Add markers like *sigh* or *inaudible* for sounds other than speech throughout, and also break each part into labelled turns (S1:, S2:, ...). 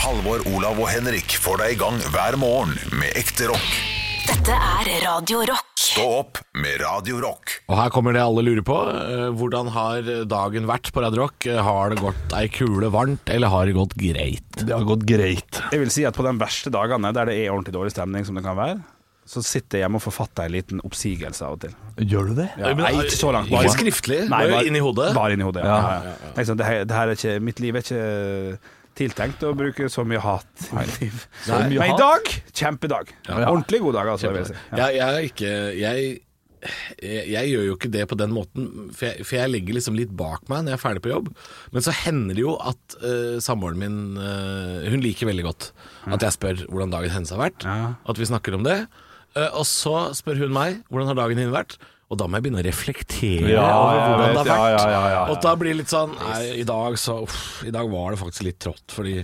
S1: Halvor, Olav og Henrik får deg i gang hver morgen med ekte rock.
S2: Dette er Radio Rock.
S1: Stå opp med Radio Rock.
S3: Og her kommer det alle lurer på. Eh, Hvordan har dagen vært på Radio Rock? Eh, Har det gått ei kule varmt, eller har det gått greit?
S4: Det har gått greit.
S5: Jeg vil si at på de verste dagene der det er ordentlig dårlig stemning, som det kan være, så sitter jeg hjemme og forfatter en liten oppsigelse av og til.
S4: Gjør du det?
S5: Ja,
S3: Men,
S5: nei, ikke så langt.
S3: Ikke skriftlig,
S5: Nei,
S3: bare
S5: bare-
S3: inni hodet.
S5: Bare inni hodet, ja. ja, ja, Tenk sånn, det her, det her er ikke, mitt liv er ikke tiltenkt å bruke så mye hat i mitt liv.
S3: Nei.
S5: Men i dag, kjempedag. Ordentlig god dag, altså. Vil jeg si. Ja.
S3: Jeg, jeg er ikke jeg, jeg, jeg gjør jo ikke det på den måten, for jeg, for jeg legger liksom litt bak meg når jeg er ferdig på jobb. Men så hender det jo at eh, samboeren min eh, Hun liker veldig godt at jeg spør hvordan dagen hennes har vært. At vi snakker om det. Eh, og så spør hun meg hvordan har dagen din vært. Og da må jeg begynne å reflektere
S4: Ja,
S3: over
S4: jeg
S3: hvordan
S4: vet.
S3: det har vært.
S4: Ja, ja, ja, ja, ja.
S3: Og da blir det litt sånn Nei, i dag så uff, I dag var det faktisk litt trått, fordi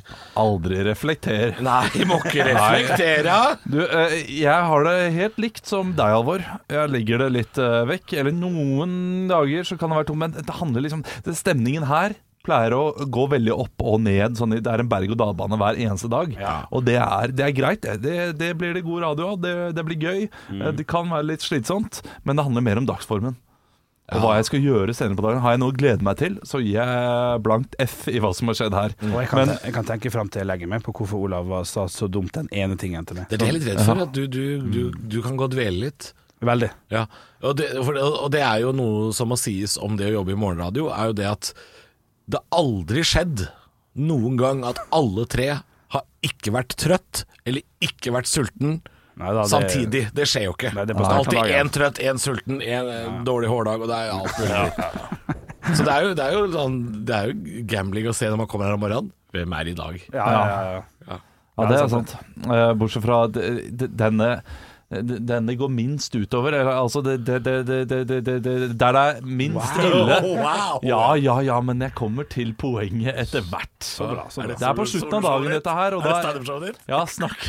S4: Aldri reflekter.
S3: Nei, må ikke reflektere!
S4: Du, eh, jeg har det helt likt som deg, Alvor. Jeg legger det litt eh, vekk. Eller noen dager så kan det være tomt, men det handler liksom det, Stemningen her pleier å gå veldig opp og ned. Sånn, i- det er en berg-og-dal-bane hver eneste dag. Og det er, det er greit, det. det. Det blir det god radio av. Det, det blir gøy.
S3: Mm.
S4: Eh, Det kan være litt slitsomt, men det handler mer om dagsformen. Og hva jeg skal gjøre senere på dagen. Har jeg noe å glede meg til, så gir jeg blankt F i hva som har skjedd her.
S3: Mm.
S5: Og jeg kan,
S4: Men-
S5: te- jeg kan tenke fram til jeg legger meg på hvorfor Olav var- sa så dumt den ene tingen til meg.
S3: Det er det jeg er litt redd for. At du, du, du, du kan gå og dvele litt.
S5: Veldig.
S3: Ja, og det, for, og det er jo noe som må sies om det å jobbe i morgenradio, er jo det at det aldri skjedd noen gang at alle tre har ikke vært trøtt eller ikke vært sulten
S5: Nei da, det-
S3: samtidig. Det skjer jo ikke.
S5: Nei, det
S3: det
S5: er
S3: er
S5: på starten av
S3: alltid
S5: dagen.
S3: én trøtt, én sulten, én eh, dårlig hårdag, og det er alt mulig. Så det er, jo, det, er jo sånn, det er jo gambling å se når man kommer her om morgenen. Hvem er i dag?
S5: Ja, ja, ja, ja.
S4: Ja, det er sant. Eh, Bortsett fra at, eh, d- denne d- denne går minst utover. eller, Altså det, det, det, det, det, det, det, det Der det er minst
S5: *laughs*
S4: ille.
S3: wow.
S4: Ja, ja, ja, men jeg kommer til poenget etter hvert.
S5: bra, så bra.
S4: Det er på slutten av dagen, dette her.
S3: Er
S4: Og
S3: det
S4: da-
S3: standup-showet ditt?
S4: ja, snakk.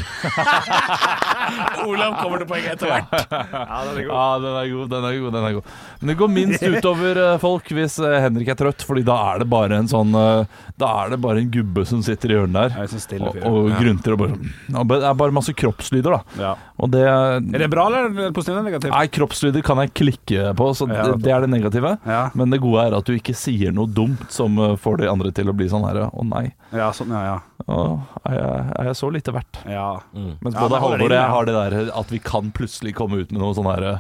S5: *laughs*
S3: Olav kommer til poenget etter hvert.
S4: Ja, den er god, den er god. den er god Men det går minst utover eh, folk hvis eh, Henrik er trøtt, Fordi da er det bare en sånn eh, Da er det bare en gubbe som sitter i hjørnet
S5: Ja, en sånn
S4: der
S5: stille
S4: og,
S5: fyr.
S4: og grunter og bare sånn. Ja, men Det er bare masse kroppslyder, da.
S5: Ja.
S4: Og det
S5: Er det bra eller positivt eller negativt?
S4: Nei, kroppslyder kan jeg klikke på, så
S5: Ja.
S4: det, det er det negative.
S5: Ja.
S4: Men det gode er at du ikke sier noe dumt som eh, får de andre til å bli sånn her Å nei,
S5: Ja, sånn, ja, ja.
S4: å, er, jeg, er jeg så lite verdt?
S5: ja.
S4: Mens
S5: Ja, da
S4: både
S5: holder det
S4: Halvor og
S5: inne,
S4: jeg
S5: ja.
S4: har det der at vi kan plutselig komme ut med noe sånn herre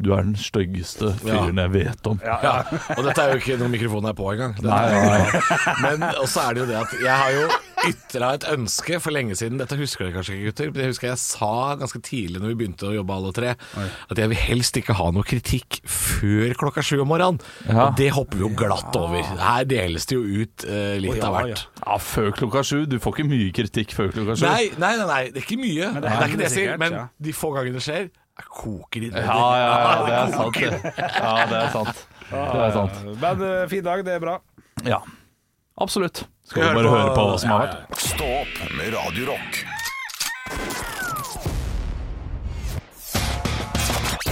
S4: Du er den styggeste fyren jeg vet om.
S3: Ja, og dette er jo ikke noen mikrofon er på engang. Det
S4: Nei,
S3: er-
S4: nei, nei.
S3: Men også er det jo det at jeg har jo ytra et ønske for lenge siden. Dette husker dere kanskje ikke, gutter. Men det husker jeg sa ganske tidlig når vi begynte å jobbe alle tre, at jeg vil helst ikke ha noe kritikk før klokka sju om morgenen.
S4: Ja.
S3: Og det hopper vi jo glatt over. Her deles det jo ut eh, litt av hvert.
S4: Ja, før klokka sju. Du får ikke mye kritikk før klokka sju.
S3: Nei, nei, nei, nei, det er ikke mye. Det er,
S5: er
S3: ikke det jeg sier,
S5: sikkert,
S3: men
S5: ja.
S3: de få gangene det skjer, jeg koker i det.
S4: Ja, ja, ja, det er sant. det. Ja, det er sant. Det er sant.
S5: Men eh, fin dag, det er bra.
S4: Ja. Absolutt. Skal vi bare høre på hva som har vært?
S1: Stå opp med Radio Rock.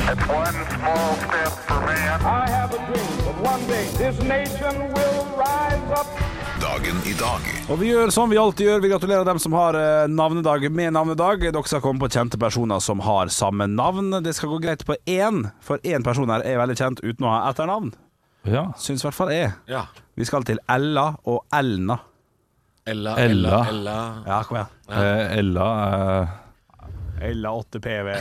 S6: One small step for man.
S7: I have a dream that one day this nation will rise up.
S1: Dagen i dag.
S5: Og vi gjør som vi alltid gjør. Vi gratulerer dem som har eh, navnedag med navnedag. Dere skal komme på kjente personer som har samme navn. Det skal gå greit på én, for én person her er veldig kjent uten å ha etternavn.
S4: Ja.
S5: Syns i hvert fall jeg.
S3: Ja.
S5: Vi skal til Ella og Elna.
S3: Ella, Ella,
S4: Ella.
S3: Ella.
S5: Ja, kom igjen.
S4: Eh, Ella eh,
S5: Ella 8 PV.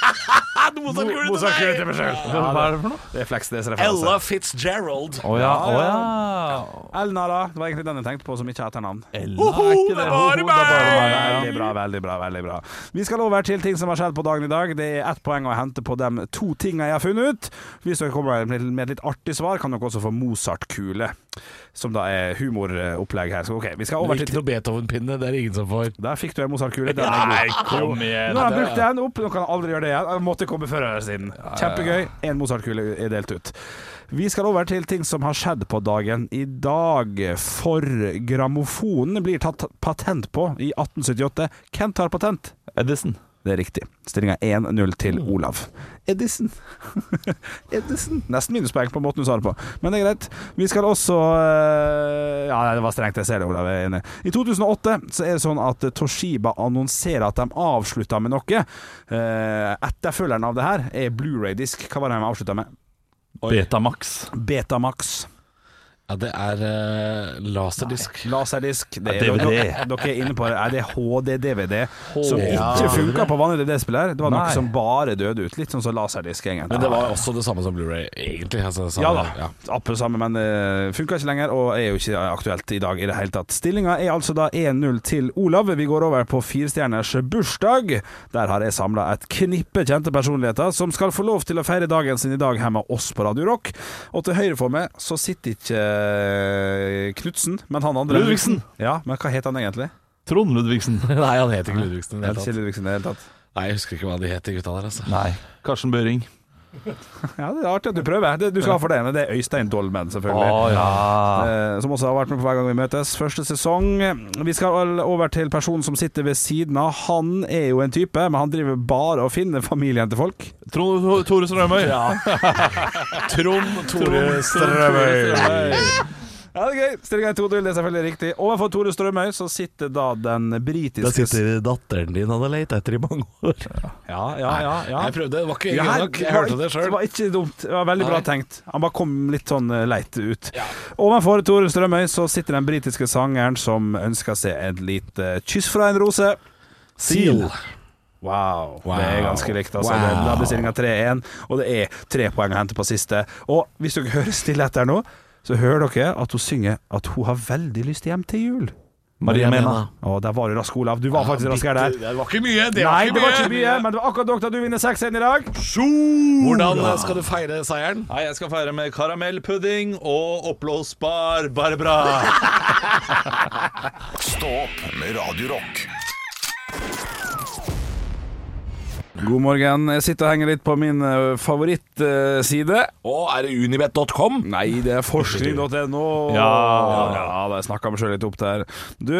S4: Ah,
S3: Mozart-kule til meg selv.
S4: Hva er det for noe?
S5: Det er Fleksnes
S3: Ella
S5: referanse.
S3: Fitzgerald.
S4: Å ja, å ja.
S5: Elna, da. Det var egentlig den jeg tenkte på som ikke har etternavn.
S4: Ella er ikke det. Ho, ho, det er bare
S5: Veldig bra, veldig bra. veldig bra Vi skal over til ting som har skjedd på dagen i dag. Det er ett poeng å hente på de to tinga jeg har funnet ut. Hvis dere kommer med med et litt artig svar, kan dere også få Mozart-kule, som da er humoropplegg her. Så ok, vi skal over
S3: Ikke
S5: til
S3: noe Beethoven-pinne, det er det ingen som får.
S5: Der fikk du en Mozart-kule. Den er
S4: Nei,
S5: god.
S4: kom igjen.
S5: Nå har jeg brukt den opp, nå kan jeg aldri gjøre det igjen. Jeg måtte komme før eller siden. Kjempegøy. Én Mozart-kule er delt ut. Vi skal over til ting som har skjedd på dagen i dag. For grammofonen blir tatt patent på i 1878. Hvem tar patent?
S4: Edison.
S5: Det er riktig. Stillinga 1-0
S3: Mm.
S5: til Olav. Edison. *laughs* Edison. Nesten minuspoeng på måten du sa det på, men det er greit. Vi skal også eh, Ja, nei, det var strengt, jeg ser det, Olav. Jeg er enig. I 2008 så er det sånn at Toshiba annonserer at de avslutta med noe. Eh, Etterfølgeren av det her er Blu-ray-disk. Hva var det de avslutta med?
S4: Betamax.
S5: Betamax.
S3: Ja, det er eh, laserdisk.
S5: Laserdisk. Det
S4: Ja,
S5: er,
S4: DVD.
S5: Dere, dere er inne på det. Er det HD-DVD som
S3: Ja.
S5: ikke funka på vanlig DVD-spiller? Det var noe
S4: Nei.
S5: som bare døde ut. Litt sånn som laserdisk, egentlig.
S3: Men det var også det samme som Blu-ray, egentlig. Altså, det samme-
S5: Ja da. Akkurat samme, men det funka ikke lenger og er jo ikke aktuelt i dag i det hele tatt. Stillinga er altså da 1-0 til Olav. Vi går over på firestjerners bursdag. Der har jeg samla et knippe kjente personligheter som skal få lov til å feire dagen sin i dag her med oss på Radio Rock. Og til høyre for meg så sitter ikke eh, Knutsen, men han andre
S4: Ludvigsen.
S5: Ja, men hva heter han egentlig?
S4: Trond Ludvigsen.
S3: Nei, han het ikke Ludvigsen. i det hele
S5: Helt
S3: tatt.
S5: Kjell Ludvigsen i det hele tatt.
S3: Nei, jeg husker ikke hva de het, de gutta der. Altså.
S4: Nei. Karsten Børing.
S5: Ja, det er artig at du prøver. Det, du skal ha for det ene. Det er Øystein Dolmen, selvfølgelig.
S4: ja.
S5: Eh, Som også har vært med på hver gang vi møtes. Første sesong. Vi skal over til personen som sitter ved siden av. Han er jo en type, men han driver bare og finner familien til folk.
S4: Trond Tor- Tore
S5: *laughs*
S4: Strømøy.
S3: Trond Tore
S5: Ja, det er gøy. Stillinga er 2-0, det er selvfølgelig riktig. Overfor Tore Strømøy så sitter da den britiske
S3: datteren din han har leita etter i mange år.
S5: Ja, ja, ja. ja.
S3: Jeg prøvde, det var ikke
S5: Ja,
S3: gøy
S5: her-
S3: nok. Jeg
S5: var
S3: hørte det
S5: ikke- Det
S3: sjøl.
S5: var ikke dumt. Det var veldig bra
S3: Nei.
S5: tenkt. Han bare kom litt sånn eh, leit ut. Ovenfor Tore Strømøy så sitter den britiske sangeren som ønsker seg et lite kyss fra en rose.
S3: Seal.
S5: Wow.
S3: Wow.
S5: Det er ganske likt. Altså.
S3: Wow.
S5: Det- Da blir stillinga 3-1, og det er tre poeng å hente på siste. Og hvis dere hører stille etter nå, så hører dere at hun synger at hun har veldig lyst hjem til jul.
S4: Maria Mena.
S5: Å, der var du rask, Olav. Du var faktisk raskere der.
S3: Det var ikke mye. Det
S5: Nei, det var ikke mye, men det var akkurat nok da du vinner 6-1 i dag.
S3: Hvordan eh, skal du feire seieren?
S4: Nei, jeg skal feire med karamellpudding og oppblåsbar Barbara.
S1: Stå opp med Radio Rock.
S5: God morgen. Jeg sitter og henger litt på min eh, favorittside.
S3: Og er det unibet.com?
S5: Nei, det er forskning.no.
S4: *laughs* Ja.
S5: ja da, jeg snakka meg sjøl litt opp der. Du,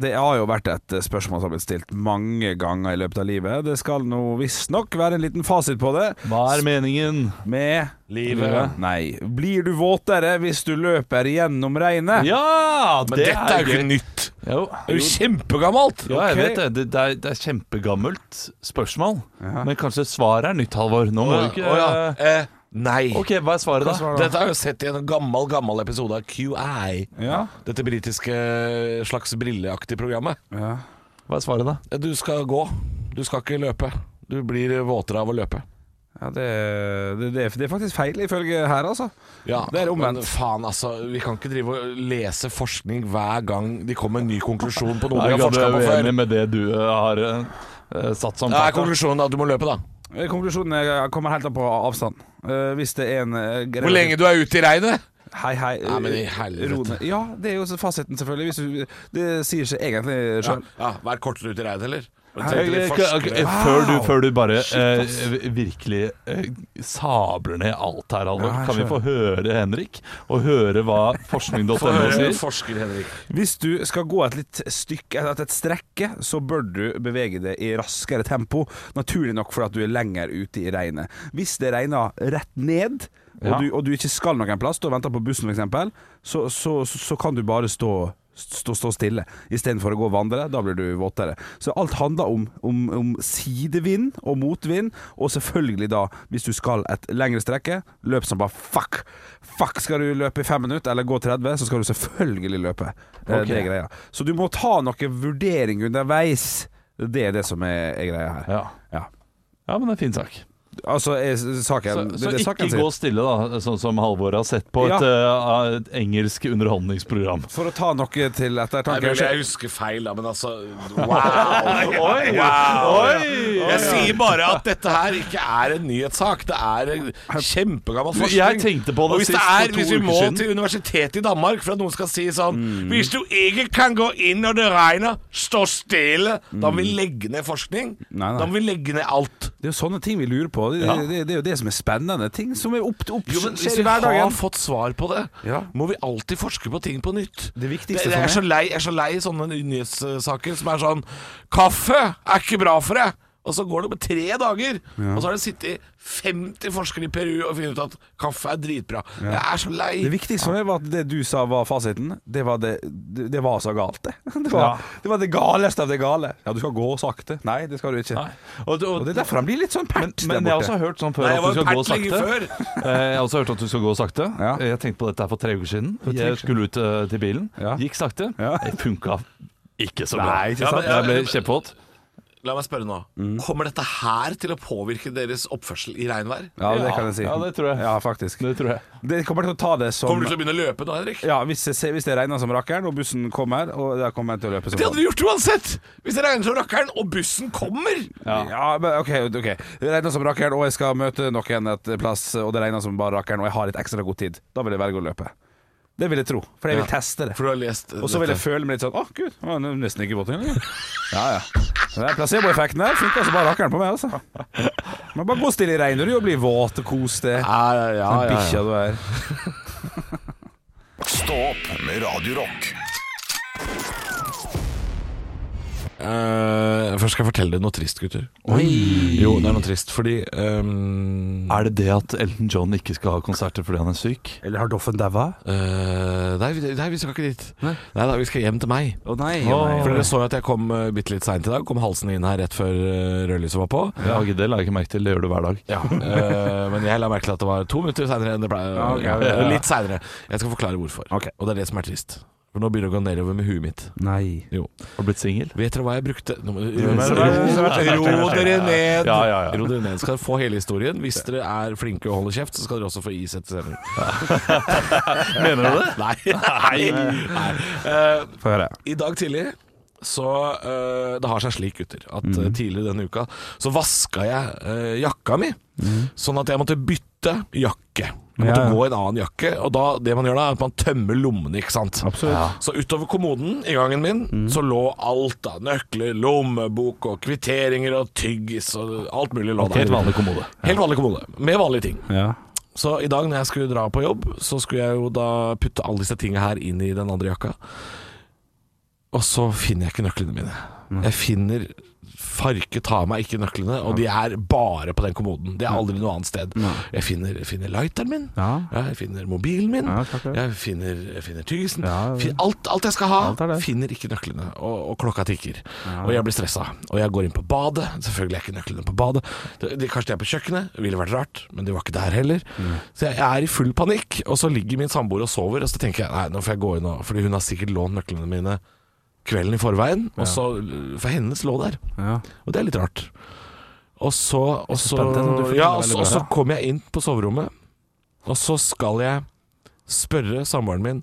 S5: det har jo vært et eh, spørsmål som har blitt stilt mange ganger i løpet av livet. Det skal nå visstnok være en liten fasit på det.
S4: Hva er meningen?
S5: Med
S4: Livet.
S5: Nei. Blir du våtere hvis du løper gjennom regnet?
S4: Ja,
S3: Men dette er jo ikke
S4: gøy.
S3: nytt.
S4: Jo.
S3: Det er jo kjempegammelt.
S4: Ja, jeg
S5: Ok.
S4: vet det. Det, det, er, det er kjempegammelt spørsmål. Men kanskje svaret er nytt, Halvor. Nå må du ikke
S3: Å ja. Eh, nei.
S4: Ok, hva er svaret, da?
S3: Dette har jeg jo sett i en gammel gammel episode av QI.
S5: Ja.
S3: Dette britiske eh, slags brilleaktige programmet.
S5: ja.
S4: Hva er svaret da?
S3: Du skal gå. Du skal ikke løpe. Du blir våtere av å løpe.
S5: ja det, det, det, er- det er faktisk feil ifølge her, altså.
S3: Ja,
S5: Det er omvendt.
S3: Men faen, altså. Vi kan ikke drive og lese forskning hver gang de kommer med en ny konklusjon på noe
S4: Jeg
S3: de har
S4: er
S3: forska på før.
S4: uenig med det du eh, har eh, satt som
S3: Da er
S4: fakta.
S3: konklusjonen at du må løpe, da.
S5: Eh, Konklusjonen er- kommer helt an på avstand. Eh, hvis det er en eh, gre-
S3: Hvor lenge du er ute i regnet?
S5: Hei, hei.
S3: Nei, men i helvete.
S5: Ro ned. Ja, det er jo fasiten, selvfølgelig. Hvis du, det sier seg egentlig eh,
S3: Ja,
S5: sjøl.
S3: ja Vær kortere ute i regnet, eller?
S4: Eh,
S3: Tenkte litt
S4: ok, ok,
S3: forskning.
S4: Før du, før du bare eh, virkelig eh, sabler ned alt her, Halvor,
S5: Ja, jeg
S4: kan vi
S5: skjønner.
S4: få høre Henrik? Og høre hva forskning.no
S3: Få høre
S4: sier?
S3: forsker Henrik.
S5: Hvis du skal gå et litt stykke, et, et strekke, så bør du bevege det i raskere tempo. Naturlig nok fordi at du er lenger ute i regnet. Hvis det regner rett ned, og,
S4: Ja.
S5: du, og du ikke skal noen plass, du venter på bussen f.eks., så, så, så, så kan du bare stå Stå, stå stille istedenfor å gå og vandre. Da blir du våtere. Så alt handler om, om, om sidevind og motvind, og selvfølgelig da, hvis du skal et lengre strekke, løp som bare fuck. Fuck, skal du løpe i fem minutter eller gå 30, så skal du selvfølgelig løpe. Eh,
S4: Ok.
S5: Det er greia. Så du må ta noe vurdering underveis. Det er det som er, er greia her.
S4: Ja.
S5: Ja.
S4: ja, men det er en fin sak.
S5: Altså, er s-
S4: Så,
S5: saken
S4: så
S5: det, er det
S4: ikke
S5: saken sier.
S4: gå stille, da, sånn som Halvor har sett på et, eh, et engelsk underholdningsprogram.
S5: For å ta noe til
S3: Nei,
S5: ettertanke.
S3: men jeg husker feil, da, men
S4: *laughs*
S3: altså Wow!
S4: Oi, oi.
S3: Jeg sier bare at dette her ikke er en nyhetssak. Det er en kjempegammel
S4: Du,
S3: forskning.
S4: jeg tenkte på det
S3: Og hvis det
S4: sist for
S3: er,
S4: to
S3: hvis vi
S4: uker
S3: må
S4: siden. Mm.
S3: til universitetet i Danmark for at noen skal si sånn Hvis du ikke kan gå inn når det regner, stå stille. Da
S4: Mm.
S3: må vi legge ned forskning.
S5: Nei, nei.
S3: Da må vi legge ned alt.
S5: Det er jo sånne ting vi lurer på. Det,
S4: Ja.
S5: det, det, det er jo det som er spennende. Ting som er opp, opp
S3: hvis
S5: skjer
S3: vi
S5: i
S3: har
S5: hverdagen.
S3: fått svar på det,
S5: Ja.
S3: må vi alltid forske på ting på nytt.
S5: Det viktigste
S3: jeg, er
S5: for
S3: så lei, jeg er så lei sånne nyhetssaker som er sånn Kaffe er ikke bra for deg! Og så går det med tre dager, og så har det sittet 50 forskere i Peru og funnet ut at kaffe er dritbra. Jeg er så lei.
S5: Det viktigste for meg var at det du sa var fasiten. Det var, det, det, det var så galt, det. *laughs* Det var,
S4: Ja.
S5: det var det galeste av det gale. Ja, du skal gå sakte. Nei, det skal du ikke.
S4: Nei. Og,
S5: Og det er derfor han blir litt sånn
S4: men,
S5: pert
S4: men jeg
S5: der
S4: har
S5: borte.
S4: også hørt sånn før
S3: Nei, jeg
S4: at du
S3: var
S4: skal gå
S3: pert lenge
S4: sakte.
S3: før.
S4: *laughs* Eh, Jeg har også hørt at du skal gå sakte.
S5: Ja.
S4: Jeg tenkte på dette her for tre uker siden.
S5: tre uker
S4: Jeg skulle ut eh, til bilen,
S5: Ja.
S4: gikk sakte.
S5: Ja.
S4: Det funka ikke så bra.
S5: Nei, ikke
S4: Ja,
S5: sant?
S4: men Jeg ble kjempevåt.
S3: La meg spørre nå.
S5: Mm.
S3: Kommer dette her til å påvirke deres oppførsel i regnvær?
S5: Ja, det kan jeg si.
S4: Ja, det tror jeg.
S5: Ja, faktisk.
S4: Det tror jeg.
S5: Det kommer til å ta det som
S3: Kommer du til å begynne å løpe nå, Henrik?
S5: Ja, hvis, jeg ser, hvis det regner som rakkeren, og bussen kommer, og da kommer jeg til å løpe som
S3: Det hadde du gjort uansett! Hvis det regner som rakkeren, og bussen kommer!
S5: Ja. men OK. ok Det regner som rakkeren, og jeg skal møte noen et plass, og det regner som bare rakkeren, og jeg har litt ekstra god tid. Da vil jeg velge å løpe. Det vil jeg tro, for jeg vil
S3: Ja.
S5: teste det.
S3: For du har lest eh,
S5: Og så vil jeg
S3: dette.
S5: føle meg litt sånn Å, gud, jeg var nesten ikke våt
S3: *laughs*
S5: engang. Ja, ja. Det er Placeboeffekten der funka som bare rakkeren på meg, altså. Men bare gå stille i regnet, du, og bli våt og kos deg.
S3: Ja, ja, ja,
S5: Den
S3: ja,
S5: bikkja
S3: ja.
S5: du er.
S1: Stå opp med Radio Rock.
S3: Eh, først skal jeg fortelle deg noe trist, gutter. Jo, det er noe trist, fordi ehm,
S4: Er det det at Elton John ikke skal ha konserter fordi han er syk?
S5: Eller har Doffen daua?
S3: eh, nei, vi- nei, vi skal ikke dit. Nei, da, vi skal hjem til meg.
S5: Å nei.
S4: Åh.
S3: For dere så jo at jeg kom uh, bitte litt seint i dag. Kom halsende inn her rett før uh, rødlyset var på.
S4: Ja, det la jeg ikke merke til. Det gjør du hver dag.
S3: Ja, eh, men jeg la merke til at det var to minutter seinere enn det pleier.
S5: Ja, ok, ja, ja.
S3: *laughs* Litt seinere. Jeg skal forklare hvorfor.
S5: Ok.
S3: Og det er det som er trist. For nå begynner det å gå nedover med huet mitt.
S5: Nei.
S3: Jo.
S4: Har du blitt singel?
S3: Vet dere hva jeg brukte Nå må-
S4: men-
S3: Ro
S5: *laughs*
S3: ro dere ned!
S4: Ja, ja, ja.
S3: Ro dere ned. Skal dere få hele historien. Hvis dere er flinke og holder kjeft, så skal dere også få is etter sending.
S4: Mener du det?
S3: Nei. Nei. Eh,
S5: Få høre.
S3: I dag tidlig så øh, Det har seg slik, gutter, at øh, tidligere denne uka så vaska jeg øh, jakka mi. Sånn at jeg måtte bytte jakke. Jeg måtte
S5: Ja, ja.
S3: gå i en annen jakke. Og da, det man gjør da, er at man tømmer lommene, ikke sant.
S5: Absolutt.
S3: Så utover kommoden i gangen min så lå alt da. Nøkler, lommebok og kvitteringer og tyggis og alt mulig lå der.
S4: Helt vanlig kommode.
S3: Helt vanlig kommode. Med vanlige ting.
S5: Ja.
S3: Så i dag når jeg skulle dra på jobb, så skulle jeg jo da putte alle disse tinga her inn i den andre jakka. Og så finner jeg ikke nøklene mine.
S5: Mm.
S3: Jeg finner Farke tar meg ikke nøklene, og de er bare på den kommoden. Det er aldri noe annet sted. Jeg finner, jeg finner lighteren min,
S5: Mm. Ja.
S3: Ja, jeg finner mobilen min,
S5: Ja, takk, ja.
S3: jeg finner, jeg finner tyggisen.
S5: Ja, ja.
S3: Fin- Alt, alt jeg skal ha,
S5: Alt er der.
S3: finner ikke nøklene, og, og klokka tikker. Og jeg blir stressa. Og jeg går inn på badet. Selvfølgelig er ikke nøklene på badet. De, de, kanskje de er på kjøkkenet, ville vært rart, men de var ikke der heller.
S5: Mm.
S3: Så jeg, jeg er i full panikk, og så ligger min samboer og sover, og så tenker jeg nei, nå får jeg gå inn og Fordi hun har sikkert lånt nøklene mine kvelden i forveien, og så For hennes lå der.
S5: Ja.
S3: Og det er litt rart. Og så, og så,
S5: spent, jeg tror du forteller
S3: ja, og
S5: veldig
S3: så,
S5: bra.
S3: og så kom jeg inn på soverommet, og så skal jeg spørre samboeren min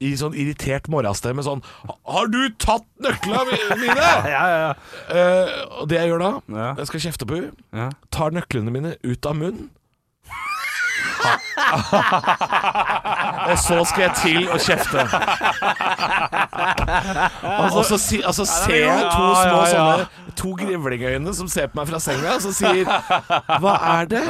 S3: i sånn irritert morgenstemme sånn 'Har du tatt nøkla mi-
S5: *laughs*
S3: mine?'
S5: Ja, ja,
S3: Eh, og det jeg gjør da,
S5: Ja.
S3: jeg skal kjefte på henne,
S5: ja.
S3: tar nøklene mine ut av munnen. Og *laughs* så skal jeg til å kjefte. Og så, si, altså, ser jeg to
S4: Ja,
S3: små
S4: ja, ja.
S3: sånne To grevlingøyne som ser på meg fra senga, og som sier 'Hva er det?'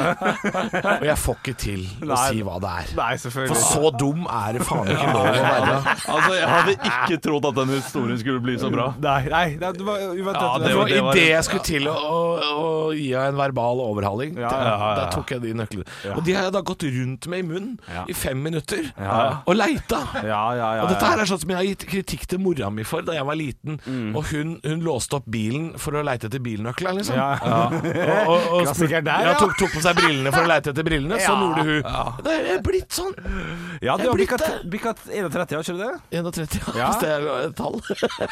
S3: Og jeg får ikke til å
S5: Nei.
S3: si hva det er.
S5: Nei,
S3: For
S5: selvfølgelig.
S3: så dum er det faen ikke lov å være.
S4: Altså, Jeg hadde ikke trodd at den historien skulle bli så bra.
S5: Nei, nei, nei, det var uventet.
S4: Ja,
S3: Det
S4: det
S3: var,
S4: var-
S3: i det jeg skulle til å, å, å gi henne en verbal overhaling,
S5: Ja, ja, ja, ja.
S3: da tok jeg de nøklene. Og de har jeg da gått rundt med i munnen i fem minutter
S5: Ja.
S3: og leita.
S5: Ja, ja, ja.
S3: Og dette her er sånn som jeg har gitt kritikk til mora mi for da jeg var liten.
S5: Mm.
S3: Og hun, hun låste opp bilen for å leite etter bilnøklene, liksom.
S5: ja.
S3: *laughs* Og, og,
S5: *laughs*
S3: og
S5: Klassiker der,
S3: ja,
S5: ja.
S3: tok, tok på seg brillene for å leite etter brillene. Sånn
S5: Ja.
S3: gjorde hun. Det er blitt sånn.
S5: ja, du
S3: Jeg
S5: har
S3: blir
S5: bikka
S3: det.
S5: bikka 31, har ikke du det?
S3: 31, ja.
S5: Ja.
S3: hvis det er et tall.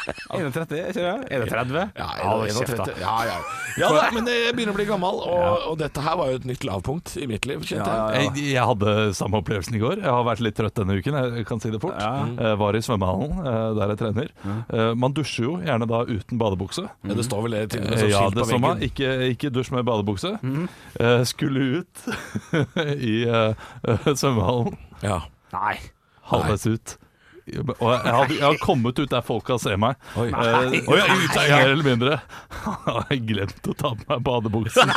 S5: 31, er ikke det? 31?
S3: Ja,
S5: hold
S3: en- en-
S5: kjeft, da.
S3: tretti- ja, ja. ja da, men jeg begynner å bli gammel, og, og dette her var jo et nytt lavpunkt i mitt liv, kjente
S5: Ja, ja,
S3: jeg.
S4: Jeg, jeg hadde samme opplevelsen i går. Jeg har vært litt trøtt denne uken. Jeg kan si det fort. Eh, var i svømmehallen, eh, der jeg trener. Eh, man dusjer jo gjerne da uten badebukse.
S3: Ja, det står vel det til og med
S4: Eh,
S3: som
S4: ja,
S3: skilt
S4: det
S3: på
S4: samme.
S3: veggen. Mm.
S4: Ikke, ikke dusj med badebukse. Eh, skulle ut *laughs* i eh, eh, svømmehallen.
S3: Ja.
S5: Nei.
S4: Halvveis ut. Og jeg har, jeg har kommet ut der folka ser meg.
S3: Oi.
S4: Eh, og jeg er ute mer eller mindre. *laughs* Og jeg glemte å ta på meg badebuksen.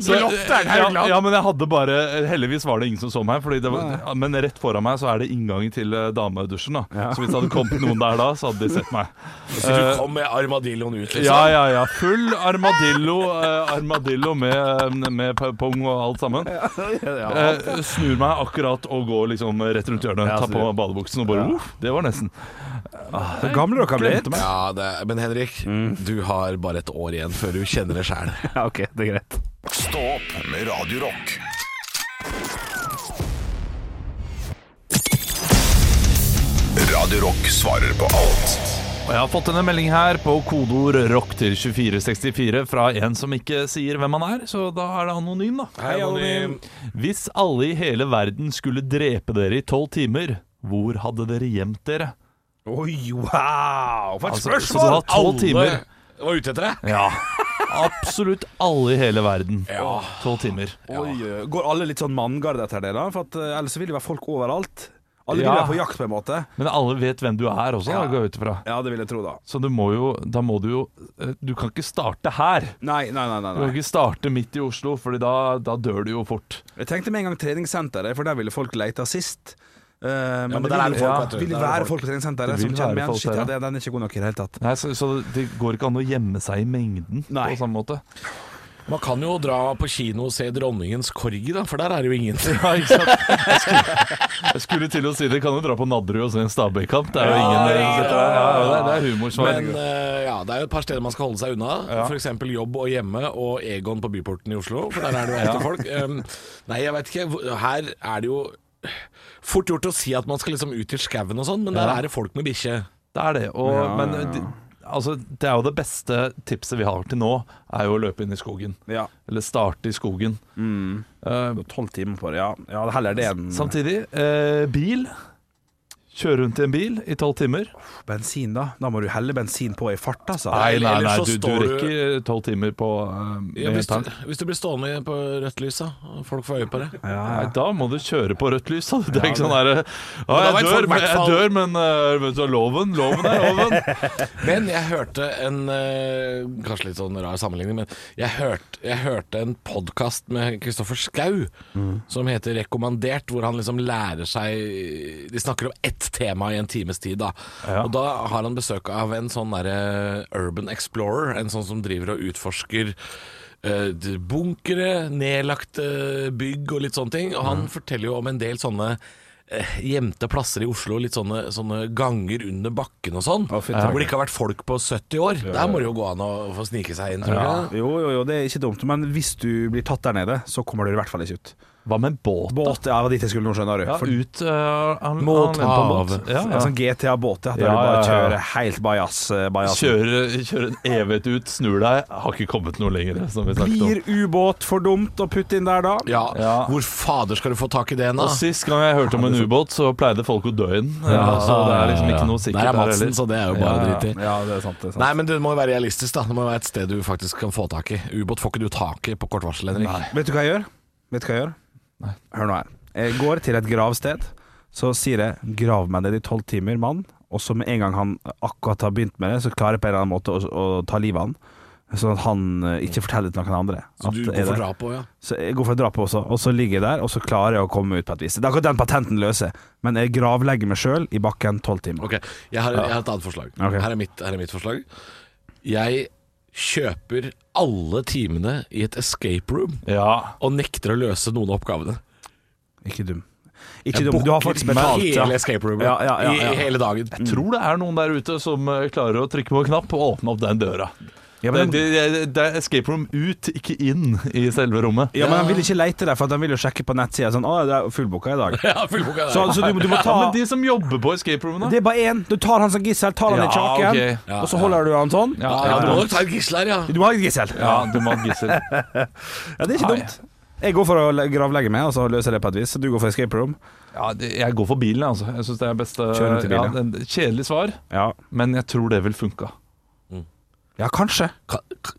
S4: Så, ja, ja, men jeg hadde bare Heldigvis var det ingen som så meg, fordi det var, ja, men rett foran meg så er det inngangen til eh, damedusjen. Da. Så hvis det hadde kommet noen der da, så hadde de sett meg.
S3: Så du kom med armadilloen ut, liksom?
S4: Ja, ja, ja. Full armadillo, eh, armadillo med, eh, med pung og alt sammen. Eh, snur meg akkurat og går liksom rett rundt hjørnet.
S5: Ja,
S4: Tar på
S5: snur.
S4: meg badebuksen og bare uff, det var nesten.
S5: Så gamle dere har blitt.
S4: Glemte meg.
S3: Ja, det, er- men Henrik, du har bare et år igjen før du kjenner det sjæl.
S5: Ja, ok, det er greit.
S1: Stå opp med Radio Rock. Radio Rock svarer på alt.
S4: Og jeg har fått en melding her på kodeord rock til 2464 fra en som ikke sier hvem han er, så da er det anonym, da.
S3: Hei, anonym.
S4: Hvis alle i hele verden skulle drepe dere i tolv timer, hvor hadde dere gjemt dere?
S5: Oi, wow! For et
S4: Altså, så du
S5: spørsmål!
S4: har tolv timer.
S3: var ute etter deg?
S4: Ja. Absolutt alle i hele verden. Tolv timer.
S5: Oi, oi. går alle litt sånn manngard etter det, da? For at, eh, ellers så vil det være folk overalt. Alle vil
S4: Ja.
S5: være på jakt, på en måte.
S4: Men alle vet hvem du er også, da, går jeg ut ifra.
S5: Ja, det vil jeg tro, da.
S4: Så du må jo, da må du jo eh, Du kan ikke starte her.
S5: Nei, nei, nei.
S4: Du kan
S5: nei, nei.
S4: ikke starte midt i Oslo, Fordi da, da dør du jo fort.
S5: Jeg tenkte med en gang treningssenteret, for der ville folk lete sist. Eh, men,
S3: men
S5: det
S3: der er
S5: vil,
S3: det folk,
S5: ja,
S3: vet du.
S5: vil
S3: Der er det
S5: være
S3: folk.
S5: folk på treningssenteret
S4: Det
S5: som
S4: vil
S5: kjenner
S4: være
S5: meg igjen.
S4: folk
S5: Shit,
S4: der,
S5: ja,
S4: ja.
S5: den den er ikke god nok i det hele tatt.
S4: Nei, så, så det går ikke an å gjemme seg i mengden
S5: Nei.
S4: på samme måte.
S3: Man kan jo dra på kino og se 'Dronningens korgi', da, for der er det jo ingen.
S4: Ja, ikke sant? Jeg skulle, jeg skulle til å si det. Kan jo dra på Nadderud og se en Stabæk-kamp. Det er jo ingen ja, ja, det, det er humor som er
S3: Men eh, ja, det er jo et par steder man skal holde seg unna. F.eks. jobb og hjemme og Egon på Byporten i Oslo, for der er det jo ekte folk. Um, nei, jeg veit ikke. hvor- Her er det jo fort gjort å si at man skal liksom ut i skauen og sånn, men der
S4: Ja.
S3: er det folk med bikkje.
S4: Det er det. Og, men de- Altså, det er jo det beste tipset vi har til nå, er jo å løpe inn i skogen.
S5: Ja.
S4: Eller starte i skogen. Eh,
S5: Tolv timer på det, ja. ja heller det enn
S4: samtidig, eh, bil. Kjøre rundt i en bil i tolv timer.
S5: bensin, da. Da må du helle bensin på i fart, altså.
S4: Nei, nei,
S3: eller
S4: nei,
S3: så
S4: du, du
S3: står du-
S4: rekker tolv timer på eh, med
S3: Ja, hvis,
S4: tank.
S3: du, hvis du blir stående på rødt lys, da, og folk får øye på det.
S4: Nei, da må du kjøre på rødt lys. Da. Det er ikke sånn der, ja,
S3: da
S4: jeg,
S3: vet folk
S4: dør, men,
S3: hvertfall-
S4: jeg dør, men eh, vet du, loven, loven er loven.
S3: Men jeg hørte en eh, Kanskje litt sånn rar sammenligning, men jeg hørte, jeg hørte en podkast med Kristoffer Schau som heter 'Rekommandert', hvor han liksom lærer seg De snakker om ett tema i en times tid, da. Og da har han besøk av en sånn derre urban explorer, en sånn som driver og utforsker eh, d- bunkere, nedlagte bygg og litt sånne ting. Og han forteller jo om en del sånne eh, gjemte plasser i Oslo, litt sånne, sånne ganger under bakken og sånn.
S5: Å, fy
S3: Ja. Hvor det ikke har vært folk på 70 år. Der må det jo gå an å få snike seg inn, tror jeg.
S5: Jo, jo, jo, det er ikke dumt, men hvis du blir tatt der nede, så kommer du i hvert fall ikke ut.
S4: *laughs* Hva med en båt? da?
S5: Båt, ja, det var dit jeg skulle nå, skjønner du.
S4: Ja,
S5: For-
S4: ut eh, han-
S3: Mot
S4: han lener på en båt.
S3: havet.
S4: Ja,
S5: En
S4: ja.
S5: sånn GTA-båt, ja. Der
S4: Ja,
S5: du bare
S4: ja, ja, ja.
S5: kjører helt bajas. eh, bajas.
S4: Kjøre, kjøre en evighet ut, snur deg. Har ikke kommet noe lenger, som vi snakket om.
S5: Blir ubåt for dumt å putte inn der, da?
S3: Ja.
S4: Ja.
S3: Hvor fader skal du få tak i det, da?
S4: Og Sist gang jeg hørte om en ubåt, så pleide folk å dø i den. Eh, så det er liksom
S3: ja.
S4: ikke noe
S3: Der
S4: sikkert
S3: er Madsen,
S4: heller.
S3: så det er jo bare
S4: Ja,
S3: drit i.
S5: Ja, det er sant. Det er sant.
S3: Nei, men det må jo være realistisk, da. Det må jo være et sted du faktisk kan få tak i. Ubåt får ikke du tak i på kort varsel, Henrik.
S5: Vet du hva jeg gjør? Vet du hva jeg gjør? Hør nå her. Jeg går til et gravsted, så sier jeg 'grav meg ned i tolv timer, mann'. Og så med en gang han akkurat har begynt med det, så klarer jeg på en eller annen måte å, å ta livet av han. Sånn at han eh, ikke forteller det til noen andre.
S3: Så
S5: At
S3: du
S5: det
S3: går
S5: er
S3: for
S5: det.
S3: drap òg, ja.
S5: Så jeg går for et drap også, og så ligger jeg der, og så klarer jeg å komme ut på et vis. Det er akkurat den patenten løser, men jeg gravlegger meg sjøl i bakken tolv timer.
S3: Ok, jeg har, jeg har et annet forslag.
S5: Ok.
S3: Her, er mitt, her er mitt forslag. Jeg kjøper alle timene i et escape room
S4: Ja.
S3: og nekter å løse noen av oppgavene.
S5: Ikke dum. Ikke
S3: Jeg
S5: dum. Du har
S3: booker
S5: faktisk betalt. ja.
S3: Hele escape room
S5: Ja, ja, ja, ja.
S3: I, i hele
S5: *laughs*
S3: dagen.
S4: Jeg tror det er noen der ute som eh, klarer å trykke på en knapp og åpne opp den døra.
S5: Ja,
S4: Det,
S5: men
S4: det,
S5: de,
S4: det, det er escape room ut, ikke inn i selve rommet.
S5: ja, men de vil ikke leite der, for de vil jo sjekke på nettsida sånn 'Å, det er fullboka i dag'.
S3: Ja, fullboka der.
S5: Så, så Altså, du, du må ta
S4: Ja, men de som jobber på escape roomene
S5: Det er bare én. Du tar han som gissel, tar han i
S4: Ja,
S5: kjaken,
S4: ok.
S3: Ja,
S5: og så holder du han sånn.
S4: Ja,
S3: ja,
S4: ja,
S3: ja, du må
S4: ja.
S3: nok ta et gissel her, ja.
S5: Du må ha et gissel.
S4: ja, du må ha et gissel.
S5: Ja, det er ikke
S4: Nei.
S5: dumt. Jeg går for å le- gravlegge meg, og så løser jeg det på et vis. Så du går for escape room.
S4: Ja, det, jeg går for bilen, altså. Jeg synes det er best eh,
S5: Kjør rundt i bilen.
S4: Ja, det- kjedelig svar,
S5: Ja,
S4: men jeg tror det vil funke.
S5: ja kanskje.
S3: Ka- k-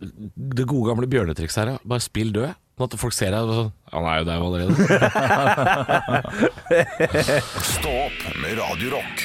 S3: Det gode gamle bjørnetrikset her, ja. Bare spill død. Sånn at folk ser deg og sånn Han er jo der allerede.
S1: Stå opp med Radio Rock.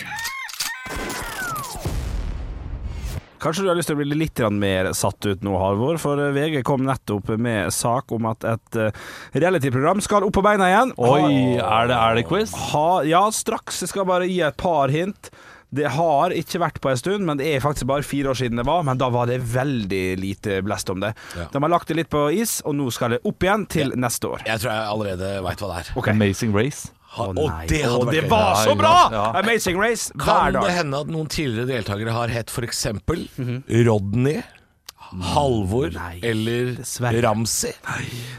S5: Kanskje du har lyst til å bli litt grann mer satt ut nå, Halvor, for VG kom nettopp med sak om at et eh, reality-program skal opp på beina igjen.
S4: Oi, er det, er det quiz?
S5: Ha, ja, straks. Jeg skal bare gi et par hint. Det har ikke vært på en stund, men det er faktisk bare fire år siden det var. Men da var det veldig lite blest om det.
S3: Ja.
S5: De har lagt det litt på is, og nå skal det opp igjen til neste år.
S3: Jeg tror jeg allerede veit hva det er.
S5: Ok.
S4: Amazing Race.
S3: Ha-
S5: Å,
S3: og
S5: nei.
S3: det hadde
S5: Å,
S3: vært
S5: det
S3: gøy.
S5: var
S4: Ja,
S5: så
S4: ikke
S5: bra!
S4: sant? Ja.
S5: Amazing Race hver
S3: Kan det
S5: dag.
S3: hende at noen tidligere deltakere har hett f.eks. Rodney, Halvor
S5: Mhm. Ah, Nei, dessverre.
S3: eller Ramsi?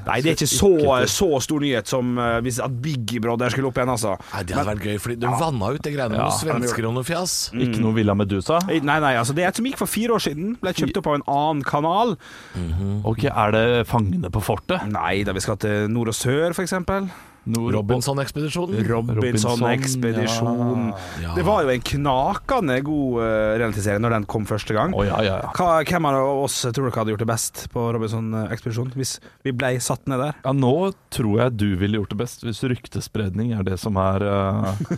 S5: Nei, det er ikke så, så stor nyhet som eh, hvis at Big Brother skulle opp igjen, altså.
S3: Nei, det hadde vært gøy, fordi de vanna ut det greiene med
S4: Ja,
S3: noen svensker og noe fjas.
S4: Ikke noe Villa Medusa.
S5: Nei, nei, altså det er et som gikk for fire år siden. Ble kjøpt opp av en annen kanal.
S4: Ok, Er det Fangene på fortet?
S5: Nei da, vi skal til nord og sør, f.eks.
S4: Nord-
S3: Robinson-ekspedisjonen.
S5: Robinson-ekspedisjon.
S3: Ja.
S5: Det var jo en knakende god uh, realityserie når den kom første gang.
S4: Å ja, ja, ja.
S5: Hva, hvem av oss tror dere hadde gjort det best på Robinson-ekspedisjon, hvis vi blei satt ned der?
S4: Ja, Nå tror jeg du ville gjort det best, hvis ryktespredning er det som er, uh,
S5: *laughs*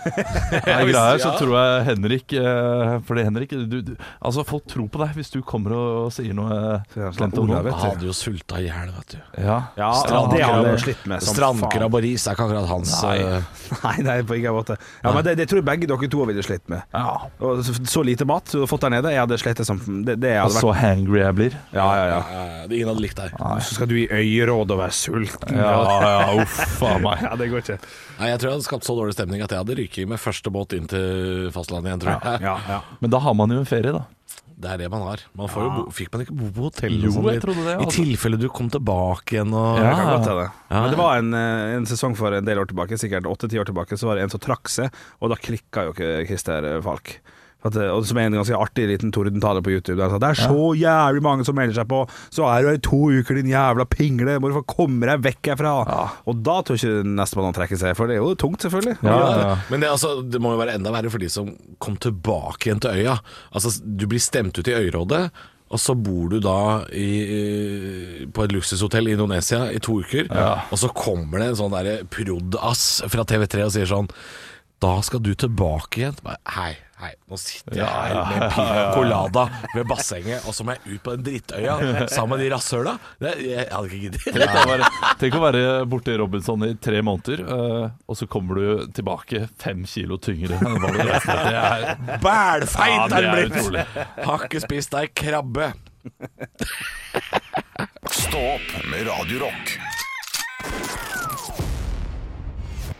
S4: er greia her. Så
S3: ja.
S4: tror jeg Henrik uh, Fordi Henrik, du, du, altså folk tror på deg hvis du kommer og sier noe
S5: Så jeg
S4: uh,
S5: sa,
S4: slemt om
S5: sånn, Olav,
S4: noen.
S5: vet du.
S3: hadde jo sulta i hjel, vet du.
S4: Ja.
S5: Ja,
S3: Strandkrabbe.
S5: det hadde jeg slitt med som faen.
S3: Strandkrabb og ris er ikke akkurat hans
S4: Nei.
S3: eh,
S5: *laughs* Nei, nei, på ingen måte. Ja, men det, det tror jeg begge dere to ville slitt med.
S4: ja.
S5: Og så, så lite mat du hadde fått der nede, jeg hadde slitt det som det, det
S4: Og
S5: hadde vært
S4: så hangry jeg blir.
S5: Ja, ja, ja.
S3: eh, Ingen hadde likt deg.
S5: Så skal du i øyeråd og være sulten.
S4: Ja, ja, uff a meg.
S5: Ja, det går ikke.
S3: Nei, Jeg tror jeg hadde skapt så dårlig stemning at jeg hadde ryket med første båt inn til fastlandet igjen, tror jeg.
S5: Ja, ja.
S4: *laughs* Men da har man jo en ferie, da.
S3: Det er det man har. Man får jo bo, fikk man ikke bo på hotell? og
S4: Jo,
S3: sånn
S4: jeg
S3: i-
S4: trodde det,
S3: I
S4: altså.
S3: tilfelle du kom tilbake igjen og
S5: Det kan
S4: Ja.
S5: godt hende.
S3: Ja.
S5: Men det var en, eh, en sesong for en del år tilbake, sikkert åtte-ti år tilbake, så var det en som trakk seg, og da klikka jo ikke Christer Falk. For At, eh, og som er en ganske artig liten tordentale på YouTube. Der, han sa, det er så jævlig mange som melder seg på, så er du her i to uker, din jævla pingle, hvorfor kommer jeg vekk herfra? Og da tror ikke nestemann å trekke seg, for det er jo tungt, selvfølgelig.
S4: Ja,
S3: Ja,
S4: ja, ja.
S3: Men det, er altså, det må jo være enda verre for de som kom tilbake igjen til øya. Altså, du blir stemt ut i øyrådet, og så bor du da i, eh, på et luksushotell i Indonesia i to uker, og så kommer det en sånn derre prod-ass fra TV3 og sier sånn Da skal du tilbake igjen. Bare, Hei, hei, nå sitter jeg her med en piña colada ved bassenget, og så må jeg ut på den drittøya sammen med de rasshøla. Det, jeg hadde ikke giddet.
S4: Tenk å være, tenk å være borte i Robinson i tre måneder, eh, og så kommer du tilbake fem kilo tyngre enn hva du reiste med. Det *laughs* er-
S3: Bælfeit
S4: Ja,
S3: er den
S4: det er
S3: blitt!
S4: utrolig.
S3: Har ikke spist ei krabbe.
S1: Stå opp med Radio Rock.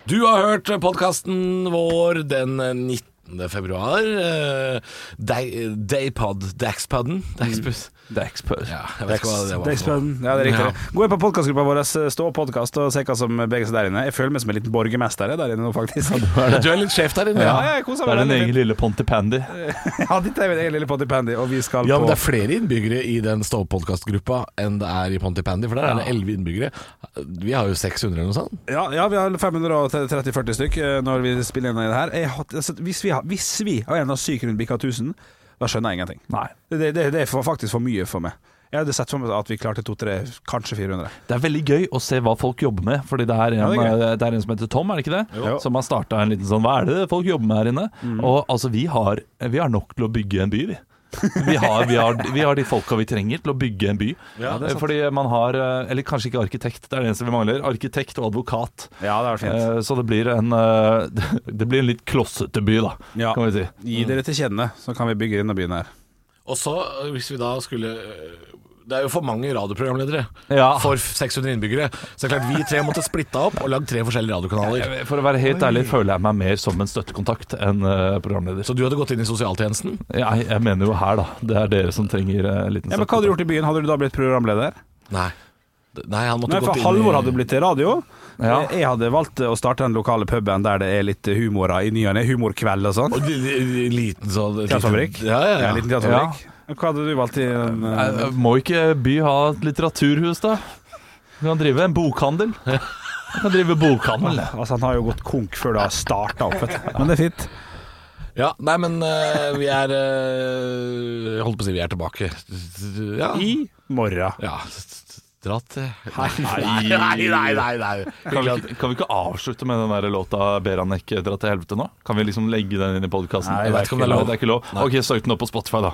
S3: Du har hørt podkasten vår den 19. februar. Eh, Day- Daypod, Daxpodden. Daxpus.
S4: Daxpur.
S3: Mm. Ja, jeg vet ikke hva det var.
S5: Dags
S3: for noe.
S5: Ja, det er riktig.
S3: Ja.
S5: Gå inn på podkastgruppa vår, eh, stå podkast, og se hva som beveger seg der inne. Jeg føler meg som en liten borgermester jeg, der inne nå, faktisk.
S3: *laughs* Ja, Du er litt sjef der inne.
S5: Ja,
S3: Ja,
S5: jeg koser
S4: Det
S5: meg
S4: er din
S5: veldig
S4: egen
S5: fint.
S4: lille Ponty Pandy.
S5: Ja, dette er min egen lille Potty Pandy, og vi skal
S3: ja men
S5: på
S3: det er flere innbyggere i den ståpodkastgruppa enn det er i Pontypandy, for der er det 11 innbyggere. Vi har jo 600 eller noe sånt.
S5: ja, ja, vi har 530-40 stykk eh, når vi spiller inn det her. Jeg, har- altså, hvis, vi har, hvis vi har en av syk rundt bikka 1000, da skjønner jeg ingenting.
S4: Nei.
S5: Det, det, det er for, faktisk for mye for meg. Jeg hadde sett for meg at vi klarte to-tre, kanskje 400.
S4: Det er veldig gøy å se hva folk jobber med. Fordi det er en, eh,
S5: Ja, det er
S4: det er en som heter Tom, er det ikke det?
S5: Jo. Mm.
S4: Som har starta en liten sånn Hva er det folk jobber med her inne? Og altså, vi har, vi har nok til å bygge en by, vi. Vi har, vi, har, vi har de folka vi trenger til å bygge en by. Fordi man har eh, Eller kanskje ikke arkitekt, det er det eneste vi mangler. Arkitekt og advokat.
S5: Ja, det har vært fint.
S4: Eh, Så det blir en eh, *laughs* Det blir en litt klossete by, da,
S5: Ja.
S4: kan vi si.
S5: Gi dere til kjenne, så kan vi bygge denne byen her.
S3: Og så, eh, hvis vi da skulle eh, Det er jo for mange radioprogramledere
S4: Ja.
S3: for 600 innbyggere. Så det er klart vi tre måtte splitta opp og lagd tre forskjellige radiokanaler.
S4: For å være helt ærlig føler jeg meg mer som en støttekontakt enn eh, programleder.
S3: Så du hadde gått inn i sosialtjenesten?
S4: Jeg, jeg mener jo her, da. Det er dere som trenger eh, en
S5: Ja,
S4: liten
S5: men Hva hadde du gjort i byen? Hadde du da blitt programleder?
S3: Nei. D- Nei, han måtte
S5: Nei,
S3: gått
S5: for
S3: inn
S5: Halvor
S3: i-
S5: hadde blitt til radio. Eh,
S4: Ja.
S5: Jeg hadde valgt å starte den lokale puben der det er litt humor i ny og ne. Humorkveld og sånn.
S3: Og li- li- li- liten sånn
S5: Teaterfabrikk.
S3: Ja, ja, ja.
S5: En liten teaterfabrikk. Hva hadde du valgt i en eh,
S4: Nei, Må ikke by ha et litteraturhus, da? Du kan drive en bokhandel. Du kan drive bokhandel.
S5: Altså, han har jo gått konk før det har starta opp, vet du. Men det er fint.
S3: ja nei, men eh, vi er eh, Jeg holdt på å si vi er tilbake. Ja.
S5: I morgen.
S3: ja. rattet. Nei, nei, nei, nei, nei.
S4: Kan vi, ikke- kan vi ikke avslutte med den der låta 'Ber han ikke dra til helvete' nå? Kan vi liksom legge den inn i podkasten?
S5: Nei, jeg vet ikke om
S3: det er lov.
S4: Det er ikke lov.
S3: Nei.
S4: Ok, søk den opp på Spotify, da.